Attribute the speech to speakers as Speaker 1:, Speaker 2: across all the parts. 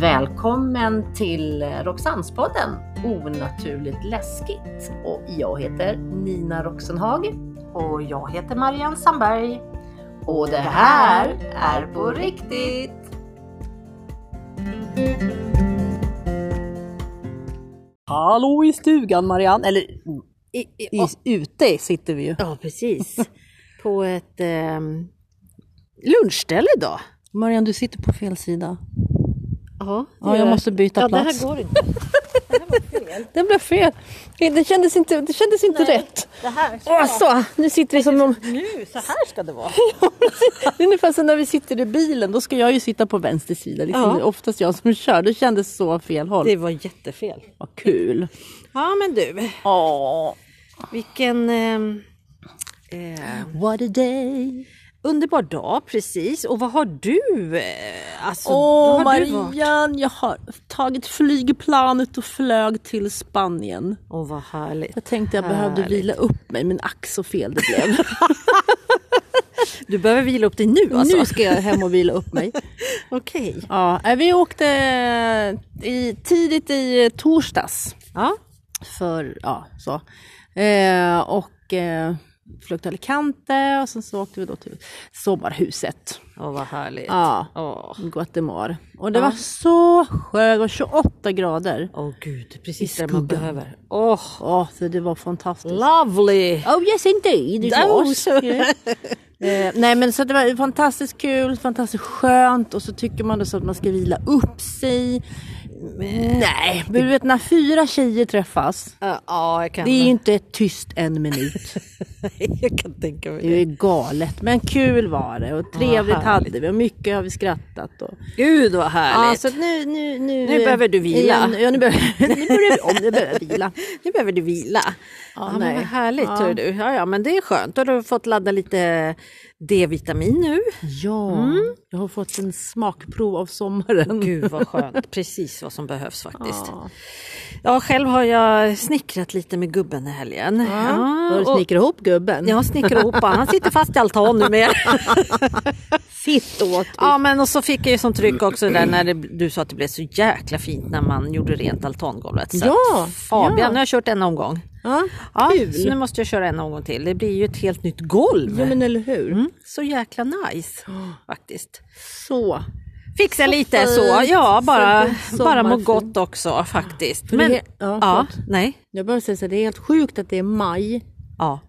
Speaker 1: Välkommen till Roxannespodden Onaturligt läskigt. Och jag heter Nina Roxenhag.
Speaker 2: Och jag heter Marianne Sandberg.
Speaker 1: Och det här är på riktigt!
Speaker 2: Hallå i stugan Marianne! Eller i, ute sitter vi ju.
Speaker 3: Ja, precis. På ett eh, lunchställe idag.
Speaker 2: Marianne, du sitter på fel sida.
Speaker 3: Ja, det
Speaker 2: Ja,
Speaker 3: gör-
Speaker 2: jag måste byta
Speaker 3: ja,
Speaker 2: plats.
Speaker 3: det här går inte. Det här var fel.
Speaker 2: Det blev fel. Det kändes inte, det kändes inte rätt.
Speaker 3: Det här ska...
Speaker 2: Åh, så, nu sitter vi som om...
Speaker 3: Nu, så här ska det vara.
Speaker 2: Det är ungefär som när vi sitter i bilen. Då ska jag ju sitta på vänster sida. Liksom.
Speaker 3: Ja.
Speaker 2: Det är oftast jag som kör. Det kändes så fel håll.
Speaker 3: Det var jättefel.
Speaker 2: Vad kul.
Speaker 3: Ja, men du.
Speaker 2: Åh,
Speaker 3: Vilken ehm, eh,
Speaker 2: what a day.
Speaker 3: underbar dag precis. Och vad har du? eh, Alltså,
Speaker 2: Åh
Speaker 3: vad har du varit?
Speaker 2: Marianne, jag har tagit flygplanet och flög till Spanien.
Speaker 3: Åh, vad härligt.
Speaker 2: Jag tänkte jag behövde
Speaker 3: Härligt.
Speaker 2: vila upp mig, men ack så fel det blev.
Speaker 3: Du behöver vila upp dig nu alltså?
Speaker 2: Nu ska jag hem och vila upp mig.
Speaker 3: Okej.
Speaker 2: Ja, eh, vi åkte eh, i, tidigt i eh, torsdags.
Speaker 3: Ja.
Speaker 2: För, ja, så. Eh, och eh, flög till Alicante och sen så åkte vi då till sommarhuset.
Speaker 3: Åh, vad härligt.
Speaker 2: Ja,
Speaker 3: Åh.
Speaker 2: i Guatemala. Och det var så skönt, och 28 grader.
Speaker 3: Åh gud, precis
Speaker 2: I
Speaker 3: det man
Speaker 2: skuggan.
Speaker 3: behöver. Åh,
Speaker 2: Ja, så det var fantastiskt.
Speaker 3: lovely!
Speaker 2: Oh yes indeed, it was.
Speaker 3: Those.
Speaker 2: Eh, nej men så att det var fantastiskt kul, fantastiskt skönt och så tycker man då så att man ska vila upp sig. Nej, men du vet när fyra tjejer träffas,
Speaker 3: Ja, ja, jag kan,
Speaker 2: det är ju inte tyst en minut.
Speaker 3: jag kan tänka mig
Speaker 2: Det är ju galet, men kul var det och trevligt hade vi och mycket har vi skrattat. Och...
Speaker 3: Gud vad
Speaker 2: Ja,
Speaker 3: härligt!
Speaker 2: så att nu, nu, nu,
Speaker 3: Nu behöver du vila.
Speaker 2: Igen, ja, nu behöver, nu börjar vi om, nu behöver jag vila.
Speaker 3: nu behöver du vila. Ja, men
Speaker 2: nej.
Speaker 3: vad härligt
Speaker 2: Ja.
Speaker 3: hör du. Ja, ja, men det är skönt. Då har du fått ladda lite D-vitamin nu.
Speaker 2: Ja, Mm. jag har fått en smakprov av sommaren.
Speaker 3: Gud vad skönt. Precis vad som behövs faktiskt. Ja. själv har jag snickrat lite med gubben i helgen.
Speaker 2: Har du
Speaker 3: och-
Speaker 2: snickrat ihop gubben?
Speaker 3: Jag snickrar ihop han. Han sitter fast i altan nu med.
Speaker 2: Sitt åt.
Speaker 3: Ja men och så fick jag ju som tryck också där när det, du sa att det blev så jäkla fint när man gjorde rent altangolvet. Så
Speaker 2: Ja,
Speaker 3: att Fabian,
Speaker 2: ja.
Speaker 3: nu har jag kört en omgång.
Speaker 2: Ja.
Speaker 3: Ja, så nu måste jag köra en omgång till. Det blir ju ett helt nytt golv.
Speaker 2: ja, men eller hur?
Speaker 3: Mm, så jäkla nice faktiskt.
Speaker 2: Så.
Speaker 3: Fixa lite så,
Speaker 2: fint.
Speaker 3: ja bara,
Speaker 2: Fint
Speaker 3: bara må
Speaker 2: sommarfint.
Speaker 3: gott också faktiskt.
Speaker 2: För
Speaker 3: Men,
Speaker 2: det- ja,
Speaker 3: ja,
Speaker 2: förlåt.
Speaker 3: nej,
Speaker 2: Jag bara säga så här, det är helt sjukt att det är maj.
Speaker 3: ja,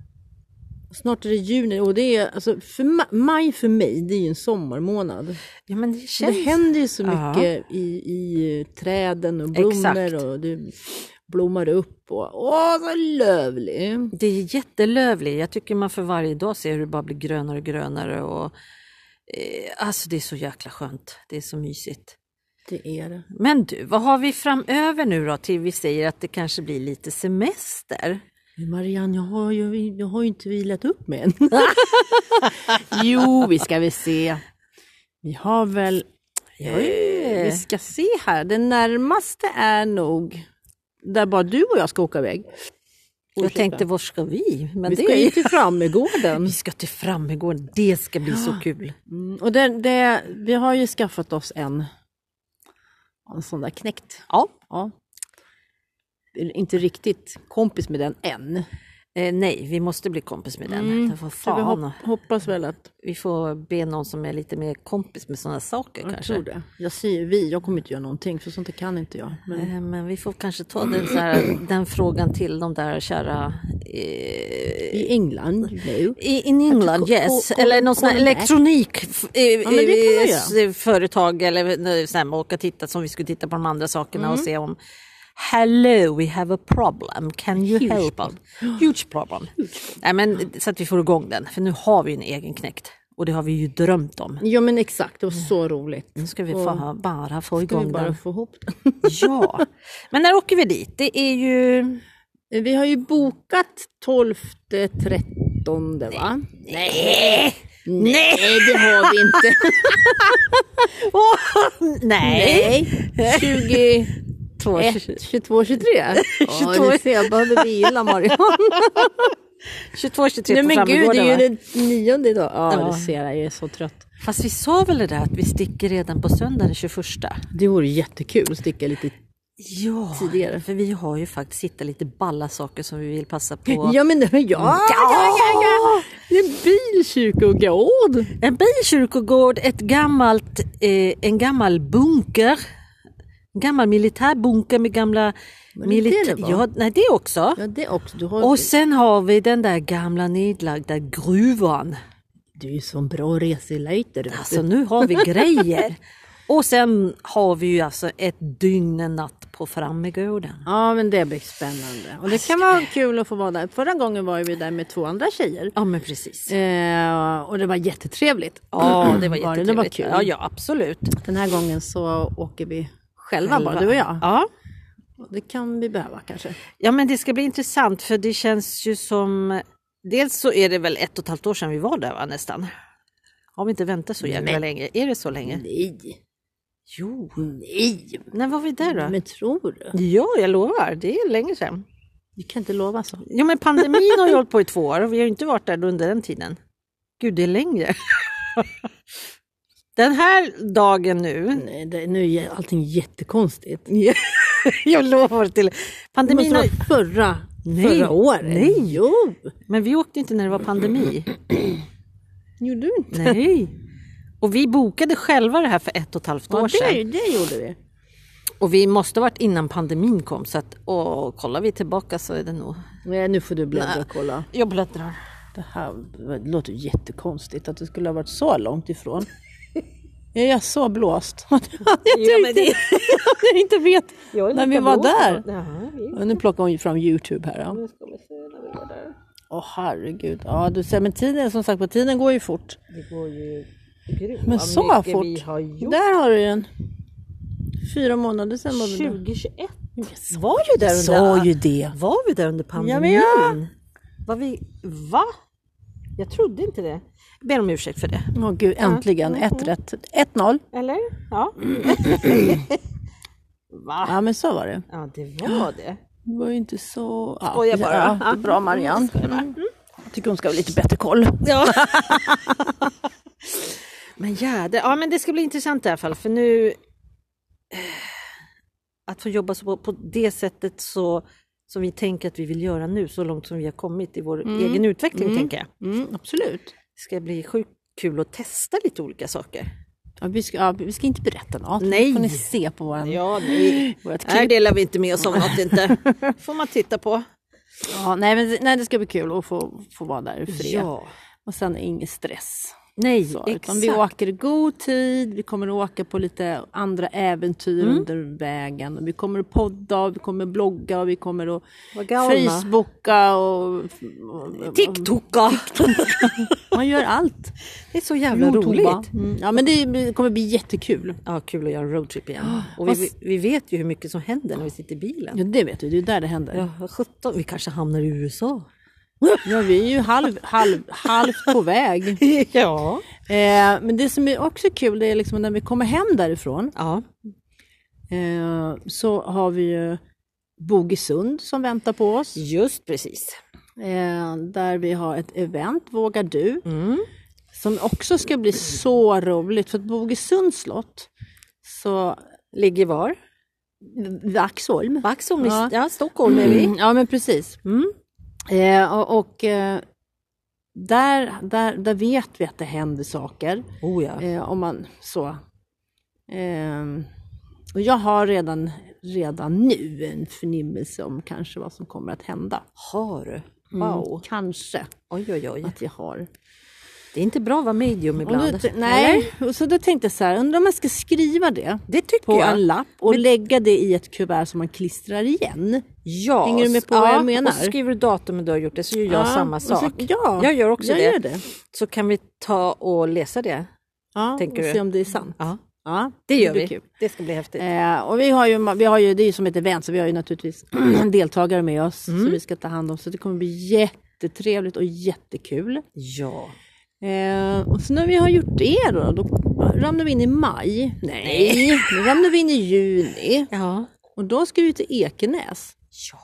Speaker 2: Snart är det juni och det är alltså för ma- maj för mig, det är ju en sommarmånad.
Speaker 3: ja men det känns...
Speaker 2: Det händer ju så
Speaker 3: Ja.
Speaker 2: mycket i, i träden och blommor
Speaker 3: Exakt.
Speaker 2: och det blommar upp och åh, så lövlig.
Speaker 3: Det är jättelövligt. Jag tycker man för varje dag ser hur det bara blir grönare och grönare. Och, eh, alltså det är så jäkla skönt. Det är så mysigt.
Speaker 2: Det är det.
Speaker 3: Men du, vad har vi framöver nu då till vi säger att det kanske blir lite semester?
Speaker 2: Men Marianne, jag har ju, jag har ju inte vilat upp mig än. jo, vi ska väl se. Vi har väl... Eh, vi ska se här. Det närmaste är nog där bara du och jag ska åka iväg.
Speaker 3: Jag
Speaker 2: Ursäkta.
Speaker 3: tänkte, var ska vi? Men
Speaker 2: vi
Speaker 3: det
Speaker 2: ska
Speaker 3: är
Speaker 2: ju
Speaker 3: ju...
Speaker 2: till Frammegården.
Speaker 3: Vi ska till Frammegården. Det ska bli så kul.
Speaker 2: Mm, och det, det, vi har ju skaffat oss en, en sån där knäckt.
Speaker 3: Ja.
Speaker 2: Ja. Eller Inte riktigt kompis med den än.
Speaker 3: Eh, nej, vi måste bli kompis med den. Det var
Speaker 2: Så Mm. vi
Speaker 3: fan.
Speaker 2: hop, hoppas väl att
Speaker 3: Vi får be någon som är lite mer kompis med sådana saker
Speaker 2: Jag
Speaker 3: kanske.
Speaker 2: tror det. Jag säger vi, jag kommer inte göra någonting för sånt kan inte jag. Men
Speaker 3: Eh, Men vi får kanske ta den, så här, den frågan till de där kära eh,
Speaker 2: i England nu.
Speaker 3: i- in England, yes,
Speaker 2: ko- ko-
Speaker 3: eller någon sån här
Speaker 2: kolla med.
Speaker 3: elektronik f- eh,
Speaker 2: men det kan man
Speaker 3: eh,
Speaker 2: göra.
Speaker 3: s- företag eller eh, så här, åka och titta som vi skulle titta på de andra sakerna
Speaker 2: Mm.
Speaker 3: och se om Hello, we have a problem. Can you help us? Huge problem. Nej, men, eh, så att vi får igång den, för nu har vi en egen knäckt och det har vi ju drömt om.
Speaker 2: Ja men exakt, det var så roligt.
Speaker 3: Nu ska vi få, bara få
Speaker 2: Ska vi
Speaker 3: igång
Speaker 2: bara
Speaker 3: den.
Speaker 2: få ihop
Speaker 3: Ja, men när åker vi dit? Det är ju...
Speaker 2: det. Vi har ju bokat 12, 13 va?
Speaker 3: Nej! Nej!
Speaker 2: Nej det har vi inte.
Speaker 3: Åh, nej!
Speaker 2: Nej. 20,
Speaker 3: Två-
Speaker 2: 1, 22, 23. Ja du ser, jag behöver vila Marion.
Speaker 3: 22, 23
Speaker 2: Nej
Speaker 3: på
Speaker 2: men gud,
Speaker 3: Frammegården
Speaker 2: det
Speaker 3: va?
Speaker 2: är ju den nionde idag. Ja,
Speaker 3: Ja.
Speaker 2: du ser, jag är så trött.
Speaker 3: Fast vi sa väl det där att vi sticker redan på söndag den 21?
Speaker 2: Det vore jättekul att sticka lite
Speaker 3: Ja,
Speaker 2: tidigare.
Speaker 3: för vi har ju faktiskt hittat lite balla saker som vi vill passa på.
Speaker 2: Ja men det ja, ja, ja, ja. Det är en bilkyrkogård.
Speaker 3: En bikyrkogård, ett gammalt, eh, en gammal bunker. En gammal militärbunker med gamla...
Speaker 2: det det det
Speaker 3: Milita-
Speaker 2: var?
Speaker 3: ja, nej, det också.
Speaker 2: Ja det också. Du, har,
Speaker 3: Och sen har vi den där gamla nedlagda gruvan.
Speaker 2: du är ju sån bra reseleiter. vet
Speaker 3: Alltså
Speaker 2: du.
Speaker 3: nu har vi grejer. Och sen har vi ju alltså ett dygn en natt på Frammegården.
Speaker 2: Ja men det blir spännande. Och det kan vara kul att få vara där. Förra gången var ju vi där med två andra tjejer.
Speaker 3: Ja men precis.
Speaker 2: Eh, och det var jättetrevligt.
Speaker 3: Ja det var
Speaker 2: Var det?
Speaker 3: jättetrevligt.
Speaker 2: Det var kul.
Speaker 3: Ja, ja absolut.
Speaker 2: Den här gången så åker vi själva bara,
Speaker 3: Själva.
Speaker 2: du och jag.
Speaker 3: Ja.
Speaker 2: Det kan vi behöva kanske.
Speaker 3: ja men det ska bli intressant för det känns ju som Dels så är det väl ett och ett halvt år sedan vi var där va, nästan. Har vi inte väntat så jäkla
Speaker 2: Nej.
Speaker 3: länge? Är det så länge?
Speaker 2: Nej,
Speaker 3: Jo.
Speaker 2: nej.
Speaker 3: När var vi där då?
Speaker 2: Men tror du?
Speaker 3: Ja jag lovar, det är länge sedan.
Speaker 2: Du kan inte lova så.
Speaker 3: Jo men pandemin har ju hållit på i två år och vi har ju inte varit där under den tiden. Gud, det är längre. Den här dagen nu,
Speaker 2: Nej, det, nu är allting jättekonstigt.
Speaker 3: jag lovar till
Speaker 2: Det
Speaker 3: pandemin.
Speaker 2: måste
Speaker 3: har-
Speaker 2: vara förra,
Speaker 3: Nej.
Speaker 2: förra året.
Speaker 3: Nej.
Speaker 2: Jo,
Speaker 3: Men vi åkte inte när det var pandemi.
Speaker 2: gjorde du inte?
Speaker 3: Nej. Och vi bokade själva det här för ett och ett halvt år
Speaker 2: Ja, det,
Speaker 3: sedan.
Speaker 2: det gjorde vi.
Speaker 3: Och vi måste ha varit innan pandemin kom så att och kollar vi tillbaka så är det nog...
Speaker 2: Nej, nu får du bläddra och kolla.
Speaker 3: Jag bläddrar.
Speaker 2: Det här det låter ju jättekonstigt att det skulle ha varit så långt ifrån. Jag är så blåst. Jag
Speaker 3: men
Speaker 2: tyckte
Speaker 3: det-
Speaker 2: att jag inte vet när vi var där.
Speaker 3: Jaha, vi
Speaker 2: Och nu plockar hon ju fram Youtube här. ja.
Speaker 3: ska väl se när vi var där.
Speaker 2: Åh herregud. Ja, du ser, men tiden, som sagt, på tiden går ju fort.
Speaker 3: Det går ju grymt
Speaker 2: Men
Speaker 3: vad
Speaker 2: så
Speaker 3: mycket
Speaker 2: fort.
Speaker 3: vi har gjort.
Speaker 2: Där har du den. Fyra månader sedan var vi där.
Speaker 3: 2021 var ju där
Speaker 2: Jag sa ju det.
Speaker 3: Var vi där under pandemin?
Speaker 2: Ja, men ja.
Speaker 3: Var vi... Va? Jag trodde inte det. Jag ber om ursäkt för det.
Speaker 2: Åh gud,
Speaker 3: Mm,
Speaker 2: äntligen. Ett rätt. 1-0.
Speaker 3: Eller? Ja. Va?
Speaker 2: Ja, men så var det.
Speaker 3: Ja, det var det.
Speaker 2: Det var ju inte så... Ja,
Speaker 3: Skojar bara.
Speaker 2: Ja, det är bra Marianne. Mm. Jag tycker hon ska ha lite bättre koll.
Speaker 3: Ja. men ja det, ja, men det ska bli intressant i alla fall för nu eh, att få jobba så på, på det sättet så som vi tänker att vi vill göra nu så långt som vi har kommit i vår egen utveckling tänker jag.
Speaker 2: Mm, absolut.
Speaker 3: Det ska bli sjukt kul att testa lite olika saker.
Speaker 2: Ja, vi, ska, ja, vi ska inte berätta något.
Speaker 3: Nej.
Speaker 2: Det får ni se på våran...
Speaker 3: Ja, nej.
Speaker 2: vårat klipp.
Speaker 3: Här delar vi inte med oss om något inte. får man titta på.
Speaker 2: Ja, nej, men, nej, det ska bli kul att få, få vara där i fred. Och sen ingen stress.
Speaker 3: Nej,
Speaker 2: Så, utan
Speaker 3: exakt.
Speaker 2: vi åker i god tid, vi kommer att åka på lite andra äventyr
Speaker 3: Mm.
Speaker 2: under vägen. Vi kommer att podda, och vi kommer att blogga och vi kommer att
Speaker 3: Vad galna.
Speaker 2: facebooka och, och
Speaker 3: TikToka!
Speaker 2: man gör allt.
Speaker 3: Det är så jävla roligt.
Speaker 2: Mm. Ja men det blir- kommer bli jättekul.
Speaker 3: Ja, kul att göra en roadtrip igen. Och
Speaker 2: vad
Speaker 3: vi,
Speaker 2: s-
Speaker 3: vi vet ju hur mycket som händer när vi sitter i bilen.
Speaker 2: Ja det vet du, det är där det händer. Ja,
Speaker 3: Ja, 17. Vi kanske hamnar i USA.
Speaker 2: vi är ju halv, halv, halvt på väg.
Speaker 3: ja.
Speaker 2: Eh, men det som är också kul det är liksom när vi kommer hem därifrån
Speaker 3: ja.
Speaker 2: eh, så har vi ju Bogesund som väntar på oss.
Speaker 3: Just precis.
Speaker 2: eh, där vi har ett event, Vågar du,
Speaker 3: Mm.
Speaker 2: som också ska bli så roligt. För att Bogesunds slott, så
Speaker 3: Ligger var?
Speaker 2: Vaxholm.
Speaker 3: Vaxholm i
Speaker 2: Ja.
Speaker 3: ja, Mm. Stockholm är vi.
Speaker 2: Mm, Ja, men precis. Mm. Eh, och och eh, där, där, där vet vi att det händer saker.
Speaker 3: Oh, ja.
Speaker 2: Eh, om man så. Ehm, och jag har redan, redan nu en förnimmelse om kanske vad som kommer att hända.
Speaker 3: Har du? Wow.
Speaker 2: Mm. Kanske
Speaker 3: Oj, oj, oj.
Speaker 2: att jag har
Speaker 3: Det är inte bra att vara medium
Speaker 2: Och då,
Speaker 3: ibland.
Speaker 2: t- nej, och så då tänkte jag så här, undrar om man ska skriva det
Speaker 3: Det tycker
Speaker 2: på
Speaker 3: jag.
Speaker 2: en lapp och lägga det i ett kuvert som man klistrar igen.
Speaker 3: Ja,
Speaker 2: Hänger du med på
Speaker 3: ja,
Speaker 2: vad jag menar?
Speaker 3: Och skriver du datumet du har gjort det så gör jag
Speaker 2: Ja,
Speaker 3: samma
Speaker 2: och så-
Speaker 3: sak.
Speaker 2: ja,
Speaker 3: jag gör också
Speaker 2: jag
Speaker 3: det.
Speaker 2: gör det.
Speaker 3: Så kan vi ta och läsa det.
Speaker 2: Ja,
Speaker 3: Tänker
Speaker 2: och
Speaker 3: du?
Speaker 2: se om det är sant.
Speaker 3: Ja,
Speaker 2: Ja,
Speaker 3: det gör
Speaker 2: blir
Speaker 3: vi.
Speaker 2: kul.
Speaker 3: Det ska bli häftigt.
Speaker 2: Eh, och vi har ju, vi har ju, det är ju som ett event så vi har ju naturligtvis deltagare med oss
Speaker 3: Mm.
Speaker 2: som vi ska ta hand om. Så det kommer bli jättetrevligt och jättekul.
Speaker 3: Ja.
Speaker 2: Eh, och så när vi har gjort det då, då ramlar vi in i maj. Nej, då ramlar vi in i juni.
Speaker 3: ja.
Speaker 2: Och då ska vi till Ekenäs.
Speaker 3: Ja.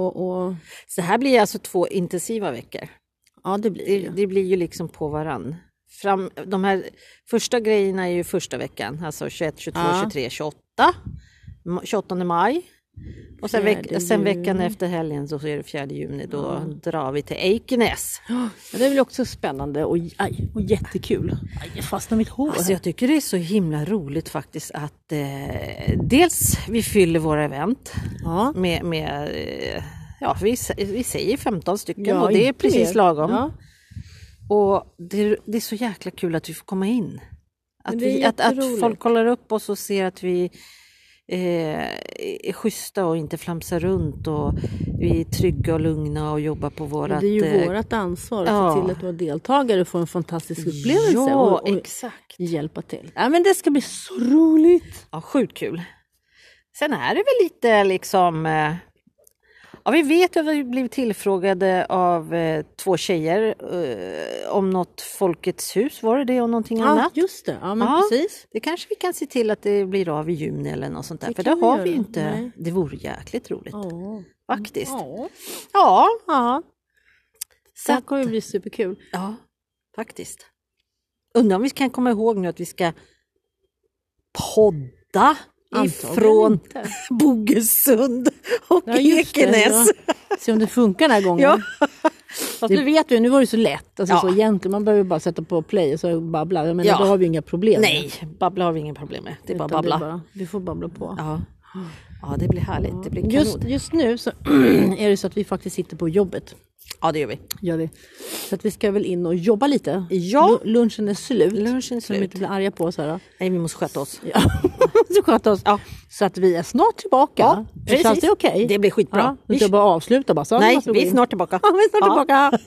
Speaker 2: Och, och,
Speaker 3: Så här blir alltså två intensiva veckor.
Speaker 2: ja, det blir det
Speaker 3: Det,
Speaker 2: ju.
Speaker 3: det blir ju liksom på varann. fram, de här första grejerna är ju första veckan, alltså 21, 22,
Speaker 4: Ja.
Speaker 3: 23, 28. Ma- 28 maj. Och sen,
Speaker 4: Fjärde
Speaker 3: veck, sen veckan
Speaker 4: juni.
Speaker 3: efter helgen så är det 4 juni, då drar vi till Ekenäs.
Speaker 4: Ja, det är väl också spännande och, aj, och jättekul. Aj, jag fastnar mitt hår.
Speaker 3: Alltså jag tycker det är så himla roligt faktiskt att eh, dels vi fyller våra event
Speaker 4: ja.
Speaker 3: med, med eh, ja vi, sä- vi säger 15 stycken
Speaker 4: Ja,
Speaker 3: och det är
Speaker 4: inte
Speaker 3: precis
Speaker 4: mer.
Speaker 3: lagom.
Speaker 4: Ja.
Speaker 3: Och det, det är så jäkla kul att vi får komma in. Att,
Speaker 4: Men det är
Speaker 3: vi, att, att
Speaker 4: jätteroligt.
Speaker 3: folk kollar upp oss och ser att vi eh, är schyssta och inte flamsar runt och vi är trygga och lugna och jobbar på
Speaker 4: Men
Speaker 3: vårat...
Speaker 4: det är ju
Speaker 3: eh,
Speaker 4: vårt ansvar att
Speaker 3: ja.
Speaker 4: se till att våra deltagare får en fantastisk upplevelse
Speaker 3: Ja,
Speaker 4: och, och
Speaker 3: exakt.
Speaker 4: hjälpa till. Ja, men det ska bli så roligt!
Speaker 3: Ja, sjukt kul. Sen är det väl lite liksom... eh, Ja, vi vet att vi blev tillfrågade av eh, två tjejer eh, om något Folkets hus, var det det och någonting
Speaker 4: Ja,
Speaker 3: annat?
Speaker 4: just det. Ja, men
Speaker 3: Ja.
Speaker 4: precis.
Speaker 3: Det kanske vi kan se till att det blir av i juni eller något sånt där.
Speaker 4: Det
Speaker 3: för det
Speaker 4: kan vi
Speaker 3: har vi ju
Speaker 4: göra.
Speaker 3: inte.
Speaker 4: Nej.
Speaker 3: Det vore jäkligt roligt
Speaker 4: Ja.
Speaker 3: faktiskt. Ja,
Speaker 4: Ja.
Speaker 3: ja,
Speaker 4: ja.
Speaker 3: så
Speaker 4: Det här
Speaker 3: att,
Speaker 4: kommer bli superkul.
Speaker 3: ja faktiskt. Undrar om vi kan komma ihåg nu att vi ska podda
Speaker 4: Antagligen
Speaker 3: ifrån
Speaker 4: inte.
Speaker 3: Bogesund och
Speaker 4: Ja, just det.
Speaker 3: Ekenäs.
Speaker 4: Ja. Se om det funkar den här gången.
Speaker 3: Ja.
Speaker 4: Fast nu vet vi, nu var det så lätt. Alltså,
Speaker 3: Ja.
Speaker 4: så egentligen, man behöver bara sätta på play och så babbla. Jag menar,
Speaker 3: Ja.
Speaker 4: då har vi inga problem.
Speaker 3: Nej, babbla har vi inga problem med. Det är bara
Speaker 4: Utan det är
Speaker 3: babbla.
Speaker 4: bara- Vi får babbla på.
Speaker 3: Ja. ja, det blir härligt. Det blir kanon.
Speaker 4: Just, just nu så är det så att vi faktiskt sitter på jobbet.
Speaker 3: Ja, det gör vi.
Speaker 4: Gör vi. Så att vi ska väl in och jobba lite.
Speaker 3: Ja.
Speaker 4: Lu- Lunchen är slut.
Speaker 3: Lunchen är
Speaker 4: Så de
Speaker 3: slut.
Speaker 4: inte blir arga på oss här. då.
Speaker 3: Nej, vi måste sköta oss.
Speaker 4: Ja. så sköta oss.
Speaker 3: Ja.
Speaker 4: Så att vi är snart tillbaka.
Speaker 3: Ja,
Speaker 4: det känns
Speaker 3: precis.
Speaker 4: det okej?
Speaker 3: Det blir skitbra.
Speaker 4: Ja,
Speaker 3: Vi-
Speaker 4: vi ska bara avsluta bara. Så
Speaker 3: Nej,
Speaker 4: måste gå
Speaker 3: vi är
Speaker 4: in.
Speaker 3: snart tillbaka.
Speaker 4: Ja, vi är snart
Speaker 3: Ja.
Speaker 4: tillbaka.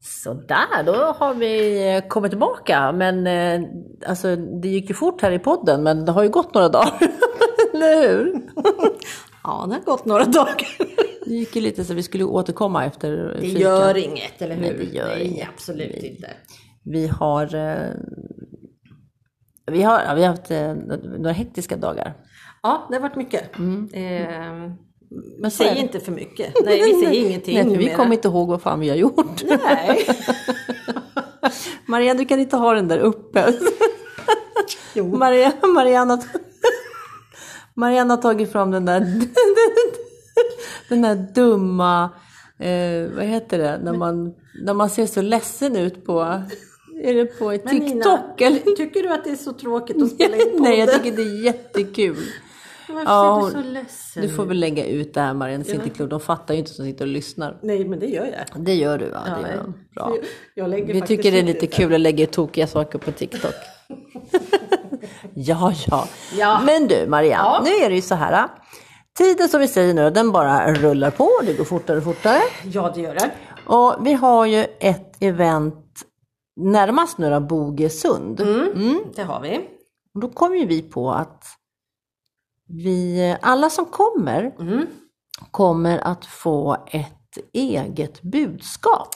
Speaker 2: Sådär, då har vi kommit tillbaka. Men eh, alltså, det gick ju fort här i podden, men det har ju gått några dagar. Eller hur?
Speaker 3: Ja, det har gått några dagar.
Speaker 2: Det gick ju lite så vi skulle återkomma efter
Speaker 3: Det
Speaker 2: fikan.
Speaker 3: gör inget, eller hur?
Speaker 2: Nej, det gör
Speaker 3: Nej,
Speaker 2: inget.
Speaker 3: absolut inte.
Speaker 2: Vi har, eh, vi har, ja, vi har haft eh, några hektiska dagar.
Speaker 3: Ja, det har varit mycket.
Speaker 2: Mm.
Speaker 3: Eh,
Speaker 2: Men så är
Speaker 3: säg
Speaker 2: det.
Speaker 3: inte för mycket. Nej, vi säger ingenting
Speaker 2: Nej, för vi
Speaker 3: numera.
Speaker 2: kommer inte ihåg vad fan vi har gjort.
Speaker 3: Nej.
Speaker 2: Marianne, du kan inte ha den där uppe.
Speaker 3: Jo.
Speaker 2: Marianne, Marianne, har, Marianne har tagit fram den där, den där dumma, eh, vad heter det, när man, när man ser så ledsen ut på, är det på TikTok?
Speaker 3: Men Nina,
Speaker 2: eller?
Speaker 3: Tycker du att det är så tråkigt att spela in podden?
Speaker 2: Nej, jag tycker det är jättekul.
Speaker 3: Varför
Speaker 2: Ja,
Speaker 3: är du så ledsen?
Speaker 2: Du får väl lägga ut det här Marianne, det är inte klokt. De fattar ju inte som sitter och lyssnar.
Speaker 3: Nej, men det gör jag.
Speaker 2: Det gör du va? Det gör de. Bra.
Speaker 3: Jag- Jag lägger
Speaker 2: Vi
Speaker 3: faktiskt
Speaker 2: tycker det är
Speaker 3: ut
Speaker 2: lite
Speaker 3: sen.
Speaker 2: kul att lägga ut tokiga saker på TikTok. ja, ja,
Speaker 3: Ja.
Speaker 2: Men du Marianne, nu är det ju så här. ah. Tiden som vi säger nu, den bara rullar på. Det går fortare och fortare.
Speaker 3: Ja, det gör det.
Speaker 2: Och vi har ju ett event närmast nu då, Bogesund.
Speaker 3: Mm.
Speaker 2: Mm.
Speaker 3: Det har vi.
Speaker 2: Och då kom ju vi på att vi, alla som kommer,
Speaker 3: Mm.
Speaker 2: kommer att få ett eget budskap.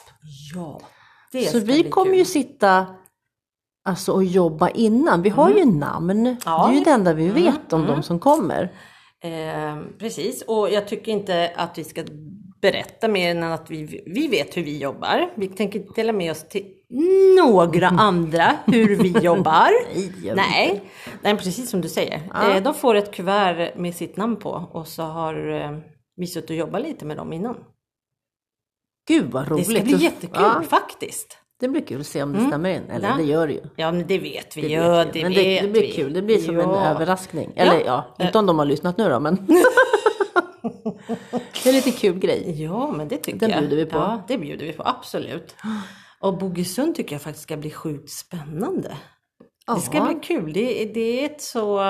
Speaker 3: Ja, det
Speaker 2: Så vi kommer ju sitta alltså, och jobba innan. Vi har ju namn.
Speaker 3: Mm. Ja. Mm.
Speaker 2: Det är ju det enda vi vet om de som kommer.
Speaker 3: Eh, precis, och jag tycker inte att vi ska berätta mer än att vi, vi vet hur vi jobbar. Vi tänker inte dela med oss till några
Speaker 2: Mm.
Speaker 3: andra hur vi jobbar.
Speaker 2: Nej, det gör vi
Speaker 3: Nej. Nej, precis som du säger. Eh, de får ett kuvert med sitt namn på och så har eh, vi suttit och jobbat lite med dem innan.
Speaker 2: Gud vad
Speaker 3: Det
Speaker 2: roligt!
Speaker 3: ska bli jättekul
Speaker 2: Ja,
Speaker 3: faktiskt.
Speaker 2: det blir kul att se om det stämmer in. Eller
Speaker 3: Ja.
Speaker 2: det gör det ju.
Speaker 3: Ja, men det vet vi ju.
Speaker 2: vet
Speaker 3: Det,
Speaker 2: vi.
Speaker 3: det,
Speaker 2: men det,
Speaker 3: vet
Speaker 2: det blir
Speaker 3: vi.
Speaker 2: kul, det blir som
Speaker 3: Ja.
Speaker 2: en överraskning. Eller ja. inte om de har lyssnat nu då men. det är en lite kul grej.
Speaker 3: Ja, men det tycker
Speaker 2: Den
Speaker 3: jag.
Speaker 2: bjuder vi på.
Speaker 3: Ja, det bjuder vi på, absolut. Och Bogesund tycker jag faktiskt ska bli sjukt spännande. Det ska
Speaker 2: Ja.
Speaker 3: bli kul. Det, är- det är ett så...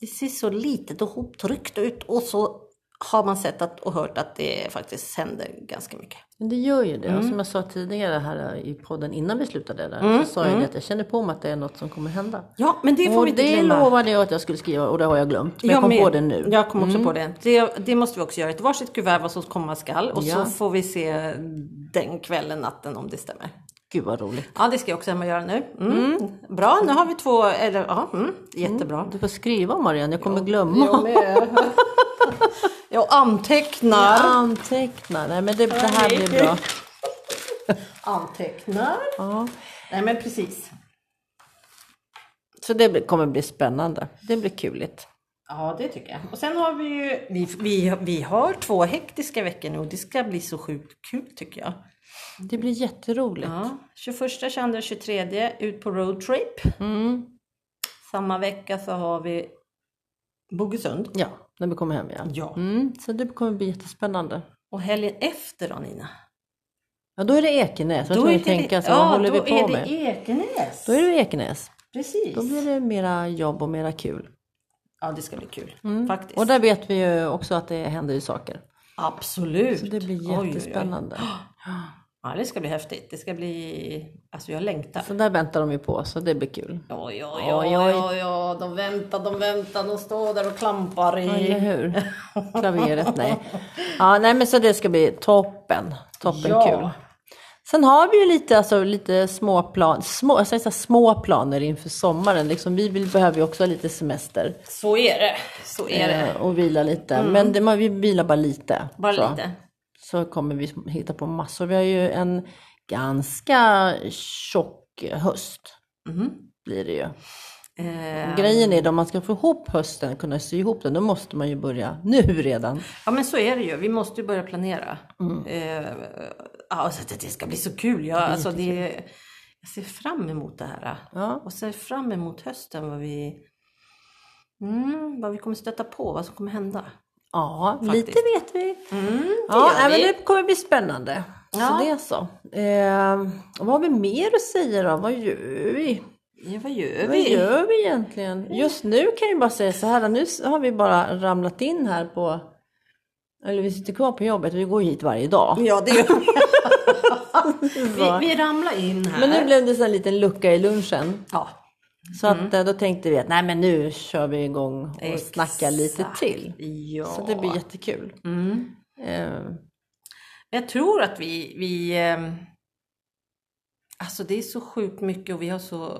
Speaker 3: Det ser så litet och hoptryckt ut och så har man sett att, och hört att det faktiskt händer ganska mycket.
Speaker 2: Men det gör ju det.
Speaker 3: Mm.
Speaker 2: Och som jag sa tidigare här i podden innan vi slutade där, så sa
Speaker 3: Mm.
Speaker 2: jag det att jag känner på mig att det är något som kommer hända.
Speaker 3: Ja, men det får
Speaker 2: och
Speaker 3: vi inte
Speaker 2: det
Speaker 3: glömma.
Speaker 2: lovade jag att jag skulle skriva och det har jag glömt. Men jag,
Speaker 3: Jag
Speaker 2: kom
Speaker 3: med.
Speaker 2: på det nu. Mm.
Speaker 3: Jag kom också på det. det. Det måste vi också göra. Ett varsitt kuvert vad som komma skall och
Speaker 2: Ja.
Speaker 3: så får vi se den kvällen, natten om det stämmer.
Speaker 5: Gud vad roligt.
Speaker 3: Ja, det ska jag också hem och göra nu. Mm. Bra, nu har vi två, eller ja, mm, jättebra.
Speaker 2: Du får skriva Marianne, jag kommer glömma.
Speaker 3: Jag antecknar.
Speaker 2: Anteckna. Nej men det, det här blir bra.
Speaker 3: Antecknar.
Speaker 2: Ja.
Speaker 3: Nej, men precis.
Speaker 2: Så det blir- kommer bli spännande. Det blir kuligt.
Speaker 3: Ja, det tycker jag. Och sen har vi ju, vi, vi, vi har två hektiska veckor nu och det ska bli så sjukt kul tycker jag.
Speaker 2: Det blir jätteroligt.
Speaker 3: Ja, 21, 22, 23 ut på roadtrip.
Speaker 2: Mm.
Speaker 3: Samma vecka så har vi Bogesund.
Speaker 2: Ja, när vi kommer hem igen.
Speaker 3: Ja.
Speaker 2: Mm, så det kommer bli jättespännande.
Speaker 3: Och helgen efter då Nina?
Speaker 2: Ja, då är det Ekenäs. Jag tror
Speaker 3: är
Speaker 2: jag
Speaker 3: det-
Speaker 2: tänker så,
Speaker 3: ja,
Speaker 2: vad håller vi
Speaker 3: då är
Speaker 2: på
Speaker 3: det
Speaker 2: med?
Speaker 3: Ekenäs.
Speaker 2: Då är det Ekenäs.
Speaker 3: Precis.
Speaker 2: Då blir det mera jobb och mera kul.
Speaker 3: Ja, det ska bli kul faktiskt.
Speaker 2: Mm. Och där vet vi ju också att det händer ju saker.
Speaker 3: Absolut.
Speaker 2: Så det
Speaker 3: Oj, oj,
Speaker 2: blir
Speaker 3: oj.
Speaker 2: jättespännande.
Speaker 3: Ja, det ska bli häftigt. Det ska bli... Alltså jag längtar.
Speaker 2: Så där väntar de ju på, så det blir kul.
Speaker 3: Oj, oj,
Speaker 2: Oj,
Speaker 3: oj,
Speaker 2: oj.
Speaker 3: oj, oj, oj. De väntar, de väntar. De står där och klampar
Speaker 2: Eller
Speaker 3: i...
Speaker 2: hur? Klaveret, nej. Ja, nej men så det ska bli toppen. Toppen
Speaker 3: Ja.
Speaker 2: kul. Sen har vi ju lite, alltså, lite små, plan, små, jag säger så här, små planer inför sommaren. Liksom, vi vill, behöver ju också ha lite semester
Speaker 3: Så är det. Så är det. Mm.
Speaker 2: eh, och vila lite. Men det, man, vi vilar bara lite.
Speaker 3: Bara
Speaker 2: så.
Speaker 3: lite.
Speaker 2: Så kommer vi hitta på massor. Vi har ju en ganska tjock höst.
Speaker 3: Mm.
Speaker 2: Blir det ju.
Speaker 3: Eh,
Speaker 2: Ehm. Grejen är att om man ska få ihop hösten, kunna sy ihop den, då måste man ju börja nu redan.
Speaker 3: Ja men så är det ju, vi måste ju börja planera.
Speaker 2: Mm.
Speaker 3: Eh, alltså, det, det ska bli så kul, jag, alltså, det, jag ser fram emot det här.
Speaker 2: Ja.
Speaker 3: Och ser fram emot hösten, vad vi, mm, vad vi kommer stöta på, vad som kommer hända.
Speaker 2: Ja,
Speaker 3: Faktiskt. Mm,
Speaker 2: lite vet vi.
Speaker 3: gör
Speaker 2: ja, nej,
Speaker 3: vi.
Speaker 2: men det kommer bli spännande.
Speaker 3: Ja.
Speaker 2: Så det är så. Eh, och vad har vi mer att säga då? Vad gör vi?
Speaker 3: Ja, vad gör
Speaker 2: Vad
Speaker 3: vi?
Speaker 2: gör vi egentligen? Just nu kan jag bara säga så här, nu har vi bara ramlat in här på... Eller vi sitter kvar på jobbet, vi går hit varje dag.
Speaker 3: Ja, det gör vi.
Speaker 2: Så.
Speaker 3: vi. Vi ramlar in här.
Speaker 2: Men nu blev det så en liten lucka i lunchen.
Speaker 3: Ja,
Speaker 2: Så att, eh, då tänkte vi att nej men nu kör vi igång och snackar lite
Speaker 3: Mm. exakt.
Speaker 2: till.
Speaker 3: Ja.
Speaker 2: Så det blir jättekul.
Speaker 3: mm.
Speaker 2: Eh,
Speaker 3: Jag tror att vi, vi ehm, alltså det är så sjukt mycket och vi har så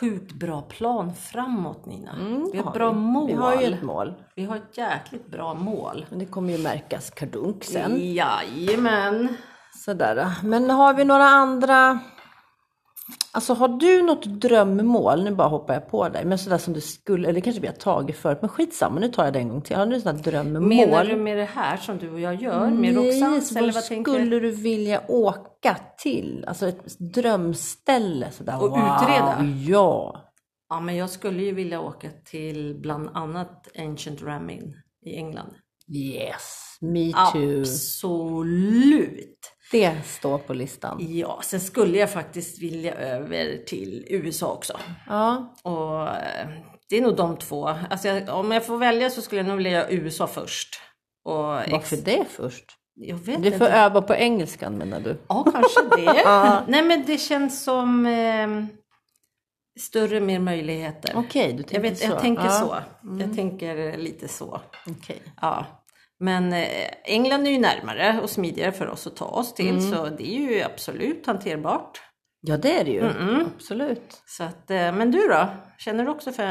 Speaker 3: sjukt bra plan framåt Nina. Mm, vi har ett bra mål.
Speaker 2: Vi Mm, har ju ett mål.
Speaker 3: ett jäkligt bra mål.
Speaker 2: Men det kommer ju märkas kardunk sen.
Speaker 3: Jajamän.
Speaker 2: Mm. Sådär. Men har vi några andra... Alltså har du något drömmål, nu bara hoppar jag på dig, men sådär som du skulle, eller kanske vi har tagit förut, men skitsamma, nu tar jag det en gång till. Har du sådana drömmål?
Speaker 3: Menar du med det här som du och jag gör med Roxans?
Speaker 2: Nej,
Speaker 3: Eller
Speaker 2: vad
Speaker 3: vad tänker
Speaker 2: skulle
Speaker 3: du?
Speaker 2: du vilja åka till? Alltså ett drömställe sådär.
Speaker 3: Och utreda?
Speaker 2: Ja.
Speaker 3: Ja, men jag skulle ju vilja åka till bland annat Ancient Ramin i England.
Speaker 2: Yes, me too.
Speaker 3: Absolut.
Speaker 2: Det står på listan.
Speaker 3: Ja, sen skulle jag faktiskt vilja över till USA också.
Speaker 2: Ja,
Speaker 3: Och eh, det är nog de två. Alltså jag, om jag får välja så skulle jag nog vilja göra USA först. Och ex-
Speaker 2: varför det först?
Speaker 3: jag vet
Speaker 2: Du
Speaker 3: inte.
Speaker 2: får öva på engelskan menar du?
Speaker 3: Ja, kanske det. Nej, men det känns som eh, större, mer möjligheter.
Speaker 2: Okej, du tänker
Speaker 3: jag, vet,
Speaker 2: så.
Speaker 3: jag tänker
Speaker 2: Ja. Mm.
Speaker 3: så. Jag tänker lite så.
Speaker 2: Okej.
Speaker 3: Ja. Men eh, England är ju närmare och smidigare för oss att ta oss till, så det är ju absolut hanterbart.
Speaker 2: Ja, det är det ju. Absolut.
Speaker 3: Så att, eh, men du då? Känner du också för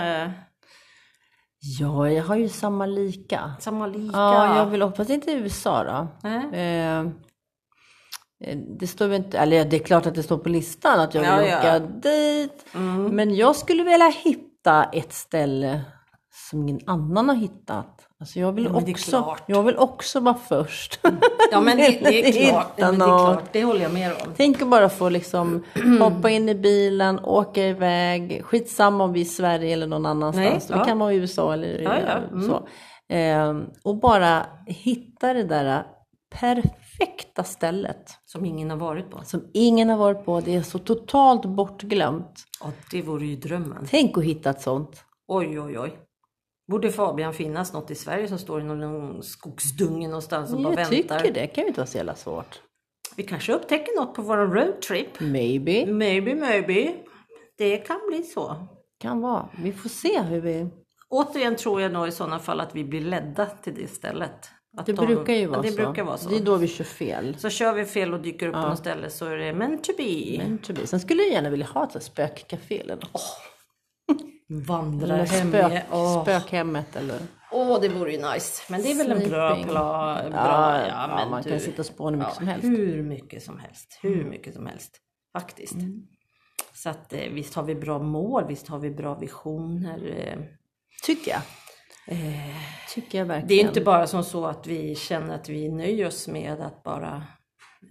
Speaker 2: Ja, jag har ju samma lika.
Speaker 3: samma lika?
Speaker 2: Ja, jag vill hoppas inte USA då.
Speaker 3: Nej.
Speaker 2: Eh, det står väl inte, eller det är klart att det står på listan att jag vill
Speaker 3: Ja, ja.
Speaker 2: åka dit. Men jag skulle vilja hitta ett ställe som ingen annan har hittat. Alltså jag, vill
Speaker 3: men det är
Speaker 2: också,
Speaker 3: klart.
Speaker 2: jag vill också vara först.
Speaker 3: Ja men det, det är klart.
Speaker 2: Hitta
Speaker 3: Ja, men det,
Speaker 2: något.
Speaker 3: är klart. det håller jag med om.
Speaker 2: Tänk att bara få liksom hoppa in i bilen, åka iväg, skitsamma om vi är i Sverige eller någon annanstans.
Speaker 3: Nej,
Speaker 2: Det
Speaker 3: ja.
Speaker 2: kan vara i USA eller
Speaker 3: Ja, ja, mm.
Speaker 2: så. Ehm, och bara hitta det där perfekta stället
Speaker 3: Som ingen har varit på.
Speaker 2: som ingen har varit på. Det är så totalt bortglömt.
Speaker 3: Ja, det vore ju drömmen.
Speaker 2: Tänk att hitta ett sånt.
Speaker 3: Oj, oj, oj. Borde Fabian finnas något i Sverige som står i någon skogsdunge någonstans och bara
Speaker 2: jag
Speaker 3: väntar?
Speaker 2: tycker det kan ju inte vara så jävla svårt.
Speaker 3: Vi kanske upptäcker något på vår roadtrip.
Speaker 2: Maybe.
Speaker 3: Maybe, maybe. Det kan bli så.
Speaker 2: Kan vara. Vi får se hur vi...
Speaker 3: Återigen tror jag nog i sådana fall att vi blir ledda till det stället. Att
Speaker 2: Det
Speaker 3: de-
Speaker 2: brukar ju
Speaker 3: ja,
Speaker 2: vara
Speaker 3: det
Speaker 2: så.
Speaker 3: Brukar vara så.
Speaker 2: Det är då vi kör fel.
Speaker 3: Så kör vi fel och dyker upp på något ställe så är det meant to be.
Speaker 2: Men to be. Sen skulle jag gärna vilja ha ett så här spökcafé eller något.
Speaker 3: Vandra
Speaker 2: eller
Speaker 3: hem
Speaker 2: spök,
Speaker 3: igen. Åh,
Speaker 2: spökhemmet eller...
Speaker 3: Åh, det vore ju nice. Men det är väl en bra
Speaker 2: Sleeping.
Speaker 3: plan. Bra,
Speaker 2: Ja,
Speaker 3: ja,
Speaker 2: ja,
Speaker 3: men
Speaker 2: man
Speaker 3: du,
Speaker 2: kan sitta och spåna hur mycket som helst. Mm.
Speaker 3: Hur mycket som helst. Hur mycket som helst. Faktiskt. Så att eh, visst har vi bra mål, visst har vi bra visioner. eh.
Speaker 2: Tycker jag. Eh, Tycker jag verkligen.
Speaker 3: Det är inte bara som så att vi känner att vi nöjer oss med att bara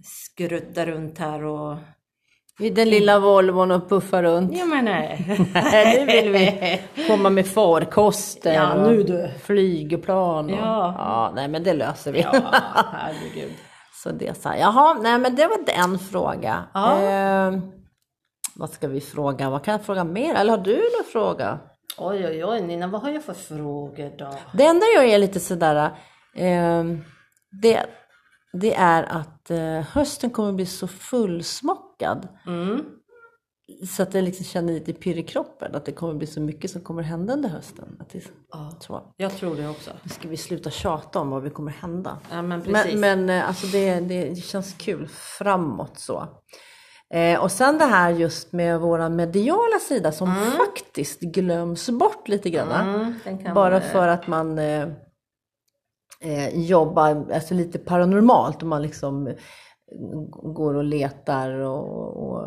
Speaker 3: skrutta runt här och...
Speaker 2: I den lilla Volvon och puffa runt.
Speaker 3: Ja men nej.
Speaker 2: nu vill vi komma med farkoster
Speaker 3: Ja,
Speaker 2: och
Speaker 3: nu du.
Speaker 2: flygplan. Och,
Speaker 3: Ja.
Speaker 2: ja, nej men det löser vi.
Speaker 3: Ja, herregud.
Speaker 2: Så det är så här, jaha, nej men det var en fråga.
Speaker 3: Ja.
Speaker 2: Eh, vad ska vi fråga? Vad kan jag fråga mer? Eller har du någon fråga?
Speaker 3: Oj, oj, oj, Nina, vad har jag för frågor då?
Speaker 2: Det enda jag är lite sådär, eh, det, det är att eh, hösten kommer bli så fullsmockad. Så att jag liksom känner lite pirr i kroppen, att det kommer bli så mycket som kommer hända under hösten. Att det,
Speaker 3: Ja.
Speaker 2: så.
Speaker 3: Jag tror det också.
Speaker 2: Nu ska vi sluta tjata om vad vi kommer hända.
Speaker 3: Ja, men precis.
Speaker 2: Men, men eh, alltså det, det känns kul framåt så. Eh, och sen det här just med våra mediala sida som faktiskt glöms bort lite grann.
Speaker 3: Mm, den kan-
Speaker 2: Bara för att man eh, eh, jobbar alltså lite paranormalt och man liksom eh, går och letar och, och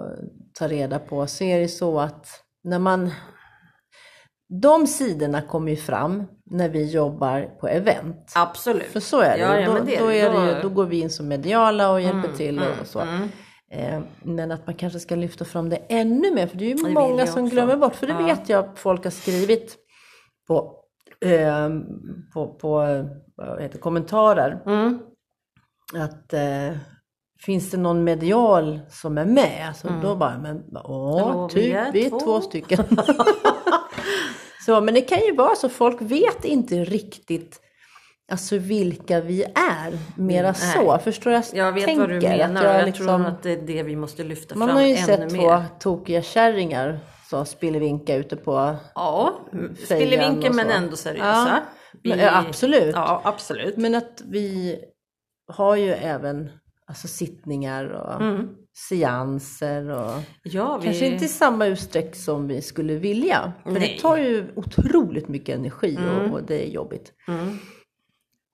Speaker 2: tar reda på så är det så att när man de sidorna kommer ju fram när vi jobbar på event.
Speaker 3: Absolut.
Speaker 2: För så är det,
Speaker 3: Ja,
Speaker 2: ju.
Speaker 3: ja,
Speaker 2: då,
Speaker 3: men det är
Speaker 2: då,
Speaker 3: det.
Speaker 2: är
Speaker 3: Då-
Speaker 2: det ju, då går vi in som mediala och hjälper till och
Speaker 3: mm,
Speaker 2: så.
Speaker 3: mm.
Speaker 2: Eh, Men att man kanske ska lyfta fram det ännu mer, för det är ju
Speaker 3: vill
Speaker 2: många
Speaker 3: jag
Speaker 2: som
Speaker 3: också.
Speaker 2: glömmer bort. För det
Speaker 3: Ja.
Speaker 2: vet jag att folk har skrivit på, eh, på, på eh, vad heter, det, kommentarer.
Speaker 3: Mm.
Speaker 2: Att eh, finns det någon medial som är med? Så då bara, men åh,
Speaker 3: Mm. Hallå, vi
Speaker 2: typ
Speaker 3: är
Speaker 2: vi är
Speaker 3: två.
Speaker 2: två stycken. så, men det kan ju vara så, folk vet inte riktigt Alltså vilka vi är, mera så. Förstår jag?
Speaker 3: Mm, Jag vet vad du
Speaker 2: tänker? Att
Speaker 3: menar och jag
Speaker 2: liksom-
Speaker 3: tror att det är det vi måste lyfta
Speaker 2: man
Speaker 3: fram
Speaker 2: har ju
Speaker 3: ännu
Speaker 2: sett
Speaker 3: mer.
Speaker 2: två tokiga kärringar som spillvinka ute på...
Speaker 3: Ja,
Speaker 2: Fejan
Speaker 3: spillevinkel
Speaker 2: och så.
Speaker 3: men ändå seriösa.
Speaker 2: Men, ja, absolut.
Speaker 3: Ja, absolut.
Speaker 2: Men att vi har ju även alltså, sittningar och
Speaker 3: Mm.
Speaker 2: seanser och
Speaker 3: Ja, vi...
Speaker 2: kanske inte i samma utsträck som vi skulle vilja. För
Speaker 3: Nej. Mm.
Speaker 2: det tar ju otroligt mycket energi och, och det är jobbigt.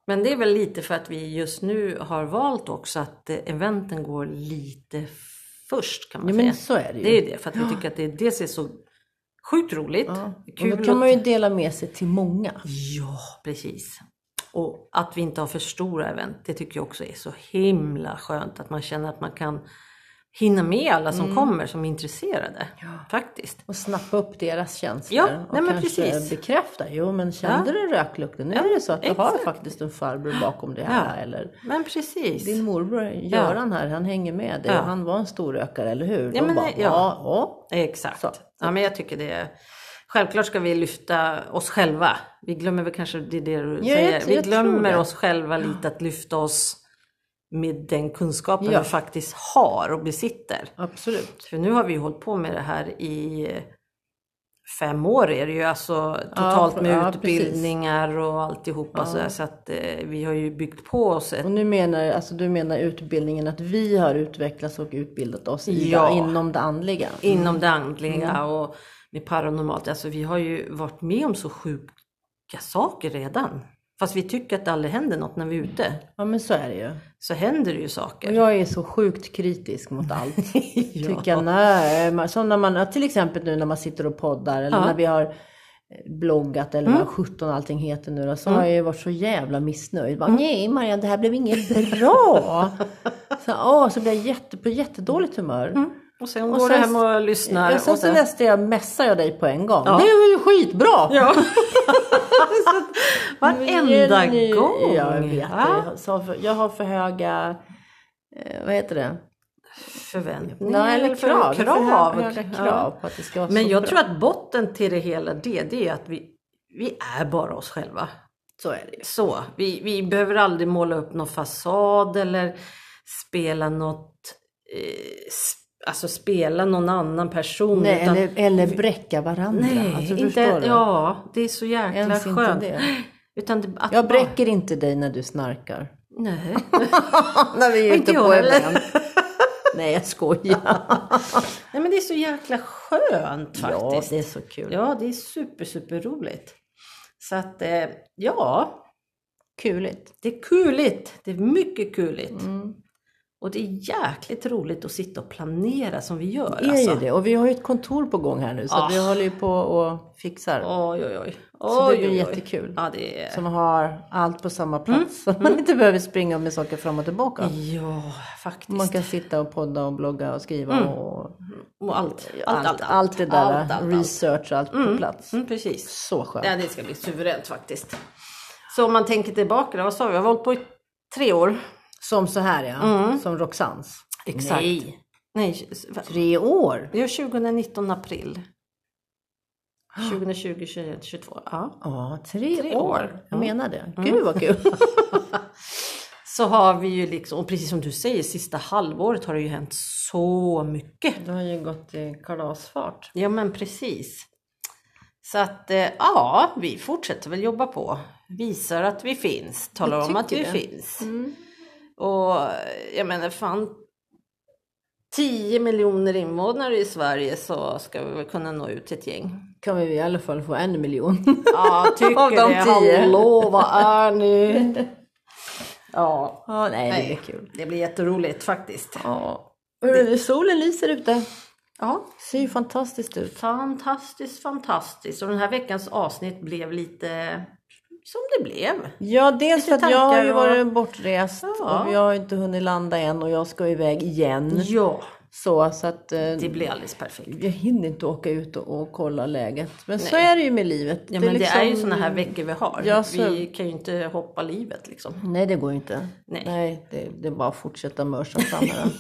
Speaker 3: Men det är väl lite för att vi just nu har valt också att eh, eventen går lite först kan man
Speaker 2: Ja,
Speaker 3: säga.
Speaker 2: men så är det ju.
Speaker 3: Det är ju det, för att vi tycker att det dels är så sjukt roligt,
Speaker 2: och
Speaker 3: kul
Speaker 2: då kan man
Speaker 3: att-
Speaker 2: ju dela med sig till många.
Speaker 3: Ja, precis. Och att vi inte har för stora event, det tycker jag också är så himla skönt. Att man känner att man kan hinna med alla som
Speaker 2: Mm.
Speaker 3: kommer som är intresserade. Faktiskt.
Speaker 2: Och snappa upp deras känslor.
Speaker 3: Ja,
Speaker 2: och
Speaker 3: nej men
Speaker 2: kanske
Speaker 3: precis.
Speaker 2: bekräfta. Jo men kände du röklukten? Nu är det så att du har faktiskt en farbror bakom dig här. Eller
Speaker 3: Men precis.
Speaker 2: din morbror Göran här, han hänger med dig. Och han var en stor rökare, eller hur?
Speaker 3: Ja,
Speaker 2: Då
Speaker 3: men,
Speaker 2: bara,
Speaker 3: ja.
Speaker 2: ja. ja.
Speaker 3: Exakt.
Speaker 2: Så.
Speaker 3: Ja, men jag tycker det är... Självklart ska vi lyfta oss själva. Vi glömmer väl kanske, det är det du
Speaker 2: jag
Speaker 3: säger,
Speaker 2: tror-
Speaker 3: vi
Speaker 2: jag tror
Speaker 3: glömmer
Speaker 2: det.
Speaker 3: oss själva lite att lyfta oss med den kunskapen
Speaker 2: Ja.
Speaker 3: vi faktiskt har och besitter.
Speaker 2: Absolut.
Speaker 3: För nu har vi ju hållit på med det här i fem år är det ju alltså totalt med
Speaker 2: ja,
Speaker 3: utbildningar och alltihopa sådär. Så att eh, vi har ju byggt på oss ett...
Speaker 2: Och nu menar, alltså, du menar utbildningen att vi har utvecklats och utbildat oss i
Speaker 3: Ja.
Speaker 2: det, inom det andliga?
Speaker 3: inom det andliga
Speaker 2: Mm.
Speaker 3: och med paranormalt. Alltså vi har ju varit med om så sjuka saker redan. Fast vi tycker att det aldrig händer något när vi är ute.
Speaker 2: Ja men så är det ju.
Speaker 3: Så händer det ju
Speaker 2: Och
Speaker 3: saker.
Speaker 2: jag är så sjukt kritisk mot allt. Tycker jag, nej. man- Som när man, ja, till exempel nu när man sitter och poddar eller när vi har eh, bloggat
Speaker 3: Mm.
Speaker 2: eller vad sjutton allting heter nu då, så har jag ju varit så jävla missnöjd.
Speaker 3: Mm.
Speaker 2: Bara, Nej Marianne, det här blev inget bra. så, åh, så blir jag jätte, på jättedåligt humör.
Speaker 3: Och sen
Speaker 2: Och
Speaker 3: går
Speaker 2: sen-
Speaker 3: det hem och lyssnar.
Speaker 2: Och sen
Speaker 3: Mm. och
Speaker 2: så
Speaker 3: sen,
Speaker 2: nästa jag messar jag dig på en gång. Det var ju skitbra!
Speaker 3: ja. Varenda
Speaker 2: Jenny-
Speaker 3: gång!
Speaker 2: Ja, jag vet
Speaker 3: va?
Speaker 2: det. Så för- jag har för höga, eh, vad heter det?
Speaker 3: Förväntningar
Speaker 2: Nej, eller
Speaker 3: för-
Speaker 2: krav. För
Speaker 3: krav.
Speaker 2: hö- höga krav
Speaker 3: Ja.
Speaker 2: på att det ska vara
Speaker 3: Men
Speaker 2: så
Speaker 3: jag
Speaker 2: bra.
Speaker 3: tror att botten till det hela det, det är att vi, vi är bara oss själva.
Speaker 2: Så är det ju.
Speaker 3: Så, vi, vi behöver aldrig måla upp någon fasad eller spela något, eh, sp- alltså spela någon annan person.
Speaker 2: Nej,
Speaker 3: utan,
Speaker 2: eller, eller bräcka varandra.
Speaker 3: nej
Speaker 2: alltså,
Speaker 3: inte,
Speaker 2: förstår du?
Speaker 3: ja, det är så jäkla
Speaker 2: Ens inte
Speaker 3: skönt.
Speaker 2: det.
Speaker 3: Utan det, att
Speaker 2: Jag bräcker inte dig när du snarkar.
Speaker 3: Nej.
Speaker 2: när vi är
Speaker 3: Inte
Speaker 2: ute
Speaker 3: jag
Speaker 2: på
Speaker 3: heller.
Speaker 2: event. Nej, jag skojar.
Speaker 3: Nej men det är så jäkla skönt
Speaker 2: Ja,
Speaker 3: faktiskt.
Speaker 2: det är så kul.
Speaker 3: Ja, det är super, super roligt. Så att, eh, ja,
Speaker 2: Kuligt.
Speaker 3: det är kuligt. Det är mycket kuligt.
Speaker 2: Mm.
Speaker 3: Och det är jäkligt roligt att sitta och planera som vi gör.
Speaker 2: Det är
Speaker 3: alltså.
Speaker 2: ju det. Och vi har ju ett kontor på gång här nu så
Speaker 3: Ah.
Speaker 2: att vi håller ju på och fixar.
Speaker 3: Oj, oj, oj.
Speaker 2: Så det
Speaker 3: Oj,
Speaker 2: blir
Speaker 3: oj, oj.
Speaker 2: jättekul.
Speaker 3: Ja, det är...
Speaker 2: Som har allt på samma plats. Så man inte behöver springa med saker fram och tillbaka.
Speaker 3: Ja, faktiskt.
Speaker 2: Man kan sitta och podda och blogga och skriva och
Speaker 3: Och allt,
Speaker 2: Mm. allt, allt, det där.
Speaker 3: Allt, allt, allt.
Speaker 2: research och allt på plats.
Speaker 3: Mm, precis.
Speaker 2: Så skönt.
Speaker 3: Ja, det ska bli suveränt faktiskt. Så om man tänker tillbaka, då, vad sa vi, jag har hållit på i tre år.
Speaker 2: Som så här ja,
Speaker 3: Mm.
Speaker 2: som Roxans.
Speaker 3: Nej. Nej, vad-
Speaker 2: Tre år.
Speaker 3: det är 2019 april. 2020, 2021, 2022. Ja.
Speaker 2: Ja, tre,
Speaker 3: Tre
Speaker 2: år.
Speaker 3: år. Mm.
Speaker 2: Jag menar det. Gud vad kul.
Speaker 3: Så har vi ju liksom, och precis som du säger, sista halvåret har det ju hänt så mycket.
Speaker 2: det har ju gått i kalasfart.
Speaker 3: Ja men precis. Så att eh, ja, vi fortsätter väl jobba på. Visar att vi finns, talar
Speaker 2: Jag
Speaker 3: om att vi
Speaker 2: tycker det.
Speaker 3: finns. Och jag menar fan, 10 miljoner invånare i Sverige så ska vi väl kunna nå ut till ett gäng.
Speaker 2: Kan vi i alla fall få en miljon.
Speaker 3: Ja, tycker
Speaker 2: Av de
Speaker 3: det.
Speaker 2: tio.
Speaker 3: Hallå, vad är ni? Ja,
Speaker 2: Ja, nej, det
Speaker 3: Nej.
Speaker 2: blir kul.
Speaker 3: det blir jätteroligt faktiskt.
Speaker 2: Ja. Hörru, solen lyser ute.
Speaker 3: Ja,
Speaker 2: Ser ju fantastiskt ut.
Speaker 3: fantastiskt, fantastiskt. Och den här veckans avsnitt blev lite som det blev.
Speaker 2: Ja, dels för
Speaker 3: Lite
Speaker 2: att jag har ju
Speaker 3: tankar och-
Speaker 2: varit bortrest
Speaker 3: Ja.
Speaker 2: och jag har inte hunnit landa än och jag ska iväg igen.
Speaker 3: Ja,
Speaker 2: Så, så att eh,
Speaker 3: det blir alldeles perfekt.
Speaker 2: jag hinner inte åka ut och, och kolla läget. Men så är det ju med livet.
Speaker 3: Ja, men
Speaker 2: liksom-
Speaker 3: det är ju såna här veckor vi har.
Speaker 2: Ja, så-
Speaker 3: Vi kan ju inte hoppa livet liksom.
Speaker 2: Nej, det går ju inte.
Speaker 3: Nej.
Speaker 2: det, det är bara att fortsätta mörsa fram här.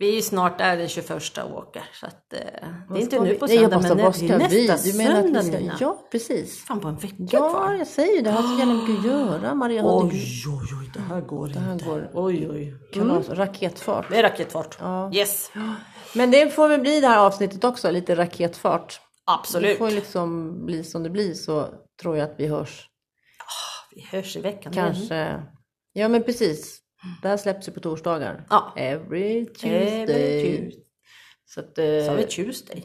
Speaker 3: Vi är ju snart där den 21 och åker. Så att, eh, det är
Speaker 2: Vad
Speaker 3: inte
Speaker 2: ska
Speaker 3: nu
Speaker 2: vi-
Speaker 3: på
Speaker 2: Nej, jag
Speaker 3: söndag,
Speaker 2: måste-
Speaker 3: men det
Speaker 2: vad
Speaker 3: är
Speaker 2: ska vi?
Speaker 3: nästa
Speaker 2: Du menar att
Speaker 3: söndag
Speaker 2: vi ska...
Speaker 3: Nina.
Speaker 2: Ja, precis.
Speaker 3: Fan på en vecka
Speaker 2: Ja,
Speaker 3: kvar.
Speaker 2: jag säger ju det. Jag har så jävla mycket att göra. Maria har inte-
Speaker 3: Oj, oj, oj, det här går
Speaker 2: det här
Speaker 3: inte.
Speaker 2: går
Speaker 3: Oj, oj.
Speaker 2: kalas, raketfart.
Speaker 3: Det är raketfart. Yes,
Speaker 2: Men det får väl bli det här avsnittet också, lite raketfart. Det
Speaker 3: absolut.
Speaker 2: får liksom bli som det blir så tror jag att vi hörs.
Speaker 3: Vi hörs i veckan.
Speaker 2: Mm. Kanske. Ja men precis. Det här släpps ju på torsdagar.
Speaker 3: Ja. Eh,
Speaker 2: Every Tuesday.
Speaker 3: Tuesday. Every
Speaker 2: Så att, eh,
Speaker 3: Tuesday. Tuesday.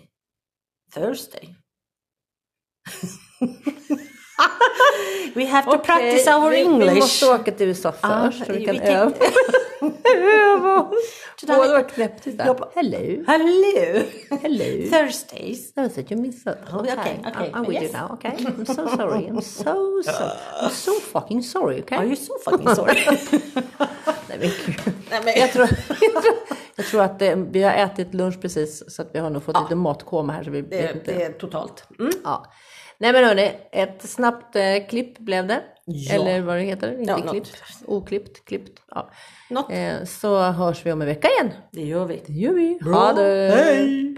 Speaker 3: Thursday. We have to practice
Speaker 2: okej,
Speaker 3: our
Speaker 2: vi,
Speaker 3: English.
Speaker 2: Vi måste åka till USA
Speaker 3: Ah,
Speaker 2: först så vi
Speaker 3: vi
Speaker 2: kan
Speaker 3: tänkte-
Speaker 2: öva. öva oss.
Speaker 3: Sådär.
Speaker 2: Båda var knäpptysta.
Speaker 3: Jag bara-
Speaker 2: Hello.
Speaker 3: Hello!
Speaker 2: Hello.
Speaker 3: Thursdays.
Speaker 2: No, so you missed it.
Speaker 3: Oh, okay, okay,
Speaker 2: I'm, I'm with
Speaker 3: yes.
Speaker 2: you now. Okay, I'm so sorry. I'm so sorry. I'm so fucking sorry. Okay.
Speaker 3: Are you so fucking sorry?
Speaker 2: Nej, men gud.
Speaker 3: Nej, men,
Speaker 2: jag, tror, jag, tror, jag tror att eh, vi har ätit lunch precis så att vi har nog fått lite matkoma här. Så vi vet
Speaker 3: det,
Speaker 2: inte.
Speaker 3: det är totalt. Mm.
Speaker 2: Ja. Nej men hörni, ett snabbt eh, klipp blev det. Eller vad det heter. Inte
Speaker 3: Ja, något.
Speaker 2: klippt. Oklippt, klippt. Ja.
Speaker 3: Något.
Speaker 2: Eh, så Eh, hörs vi om en vecka igen.
Speaker 3: Det gör vi.
Speaker 2: Det gör vi. Ha det!
Speaker 3: Hej!